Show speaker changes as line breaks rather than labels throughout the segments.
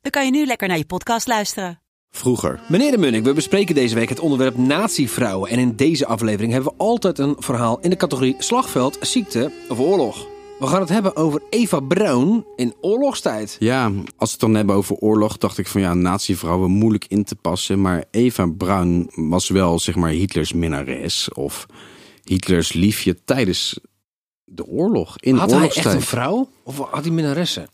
dan kan je nu lekker naar je podcast luisteren.
Vroeger. Meneer de Munnik, we bespreken deze week het onderwerp natievrouwen. En in deze aflevering hebben we altijd een verhaal in de categorie slagveld, ziekte of oorlog. We gaan het hebben over Eva Braun in oorlogstijd.
Ja, als we het dan hebben over oorlog, dacht ik van ja, natievrouwen moeilijk in te passen. Maar Eva Braun was wel, zeg maar, Hitlers minnares of Hitlers liefje tijdens de oorlog. In
Had hij
oorlogstijd.
echt een vrouw? Of had hij minnaressen?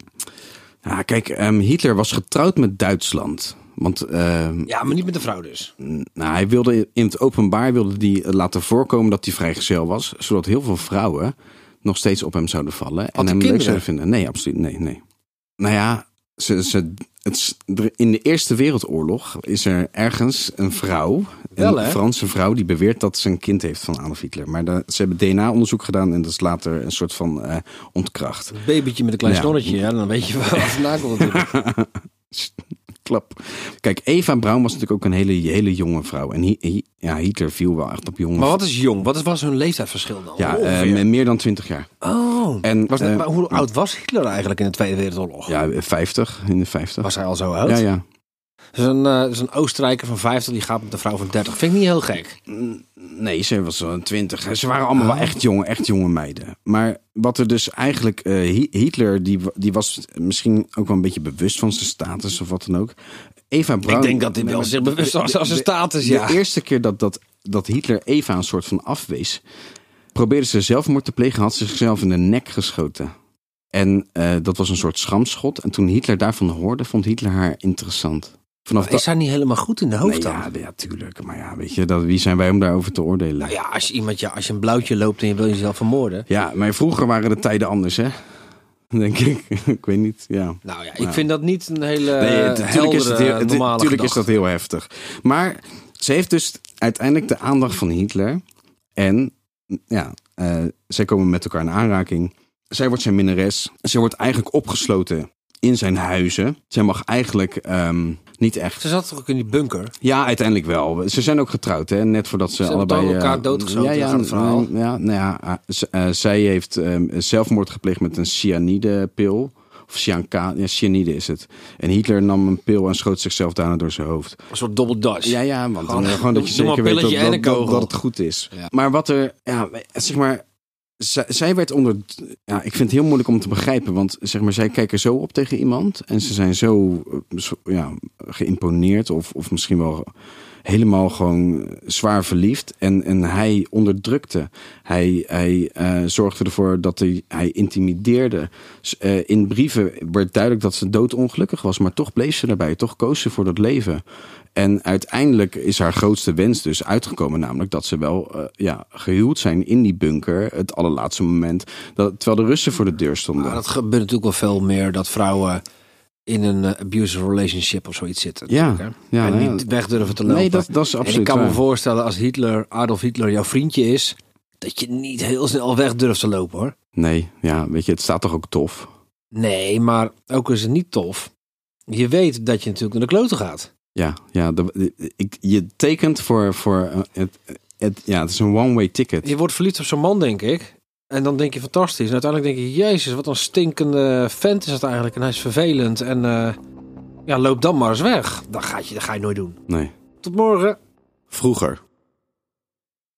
Ja, kijk, ehm, Hitler was getrouwd met Duitsland. Want ehm,
Ja, maar niet met een vrouw dus.
nou, hij wilde in het openbaar wilde die eh, laten voorkomen dat hij vrijgezel was. Zodat heel veel vrouwen nog steeds op hem zouden vallen.
hij
en hem leuk
kinderen?
zouden vinden. Nee, absoluut. Nee, nee. Nou ja, ze, ze, het, is- er- in de Eerste Wereldoorlog is er ergens een vrouw.
Wel,
een
hè?
Franse vrouw die beweert dat ze een kind heeft van Adolf Hitler. Maar daar- ze hebben DNA-onderzoek gedaan en dat is later een soort van eh, ontkracht.
Een babytje met een klein
Ja.
snorretje, ja, dan weet je waar het vandaan komt natuurlijk.
Klap. Kijk, Eva Braun was natuurlijk ook een hele, hele jonge vrouw. En Hi- Hi- ja, Hitler viel wel echt op jonge
Maar wat is jong? Wat is- was hun leeftijdsverschil dan?
Ja, eh,
Ongeveer.
met meer dan 20 jaar.
oh,
en,
was dat-
eh,
maar hoe oud was Hitler eigenlijk in de Tweede Wereldoorlog?
Ja, 50, in de 50.
Was hij al zo oud?
Ja, ja.
Dus een, eh, dus een Oostenrijker van 50 die gaat met een vrouw van 30. Vind ik niet heel gek.
Nee, ze was wel een 20. Ze waren allemaal
Oh.
wel echt jonge, echt jonge meiden. Maar wat er dus eigenlijk... eh, Hi- Hitler, die, wa- die was misschien ook wel een beetje bewust van zijn status of wat dan ook. Eva Braun...
Ik denk dat hij
Nee,
wel
maar
zich
de-
bewust was
de-
van zijn
de-
status, ja.
De eerste keer dat, dat, dat Hitler Eva een soort van afwees... probeerde ze zelfmoord te plegen, had ze zichzelf in de nek geschoten. En eh, dat was een soort schamschot. En toen Hitler daarvan hoorde, vond Hitler haar interessant. Vanaf dat-
Is hij niet helemaal goed in de hoofd
Nee,
dan?
ja, ja, tuurlijk. Maar ja, weet je, dat, wie zijn wij om daarover te oordelen?
Nou ja, als je, iemand, ja, als je een blauwtje loopt en je wil jezelf vermoorden.
Ja, maar vroeger waren de tijden anders, hè? Denk ik. ik weet niet, ja.
Nou ja, ik vind dat niet een hele
Nee,
nee,
natuurlijk is, het heel- het-
normale
tuurlijk is dat
gedachte.
heel heftig. Maar ze heeft dus uiteindelijk de aandacht van Hitler. En ja, eh, zij komen met elkaar in aanraking. Zij wordt zijn minnares. Zij wordt eigenlijk opgesloten in zijn huizen. Zij mag eigenlijk ehm, niet echt
Ze zat toch ook in die bunker?
Ja, uiteindelijk wel. Ze zijn ook getrouwd, hè? net voordat ze,
Ze hebben
allebei...
toch elkaar
eh,
doodgeschoten,
ja, ja,
gaat het verhaal.
nou, Ja, nou ja, ah, z- eh, zij heeft ehm, zelfmoord gepleegd met een cyanidepil. Of cyanka, ja, cyanide is het. En Hitler nam een pil en schoot zichzelf daarna door zijn hoofd.
Een soort double dutch.
Ja, ja, want dan,
Gewoon-
gewoon dat je
doe maar
zeker
een
weet dat,
pilletje en een
dat,
kogel.
dat, dat het goed is.
Ja.
Maar wat er, ja, zeg maar, zij, zij werd onder, ja, ik vind het heel moeilijk om te begrijpen, want zeg maar, zij kijken zo op tegen iemand en ze zijn zo, eh, zo- ja, geïmponeerd of, of misschien wel helemaal gewoon zwaar verliefd. En, en hij onderdrukte. Hij, hij eh, zorgde ervoor dat hij, hij intimideerde. S- eh, in brieven werd duidelijk dat ze doodongelukkig was, maar toch bleef ze daarbij. Toch koos ze voor dat leven. En uiteindelijk is haar grootste wens dus uitgekomen, namelijk dat ze wel eh, ja, gehuwd zijn in die bunker, het allerlaatste moment, dat, terwijl de Russen voor de deur stonden.
Maar Ah, dat gebeurt natuurlijk wel veel meer dat vrouwen in een eh, abusive relationship of zoiets zitten.
Ja,
natuurlijk, hè?
ja,
en
nee,
niet
dat-
weg durven te lopen.
Nee, dat- dat is
En
absoluut
ik kan me
waar.
voorstellen als Hitler, Adolf Hitler jouw vriendje is, dat je niet heel snel weg durft te lopen hoor.
Nee, ja, weet je, het staat toch ook tof.
Nee, maar ook is het niet tof. Je weet dat je natuurlijk naar de kloten gaat.
Ja, ja de- ik, je tekent voor, voor eh, het, het, ja, het is een one-way ticket.
Je wordt verliefd op zo'n man, denk ik. En dan denk je fantastisch. En uiteindelijk denk je, jezus, wat een stinkende vent is dat eigenlijk. En hij is vervelend. En eh, ja, loop dan maar eens weg. Dat, gaat je, dat ga je nooit doen.
Nee.
Tot morgen.
Vroeger.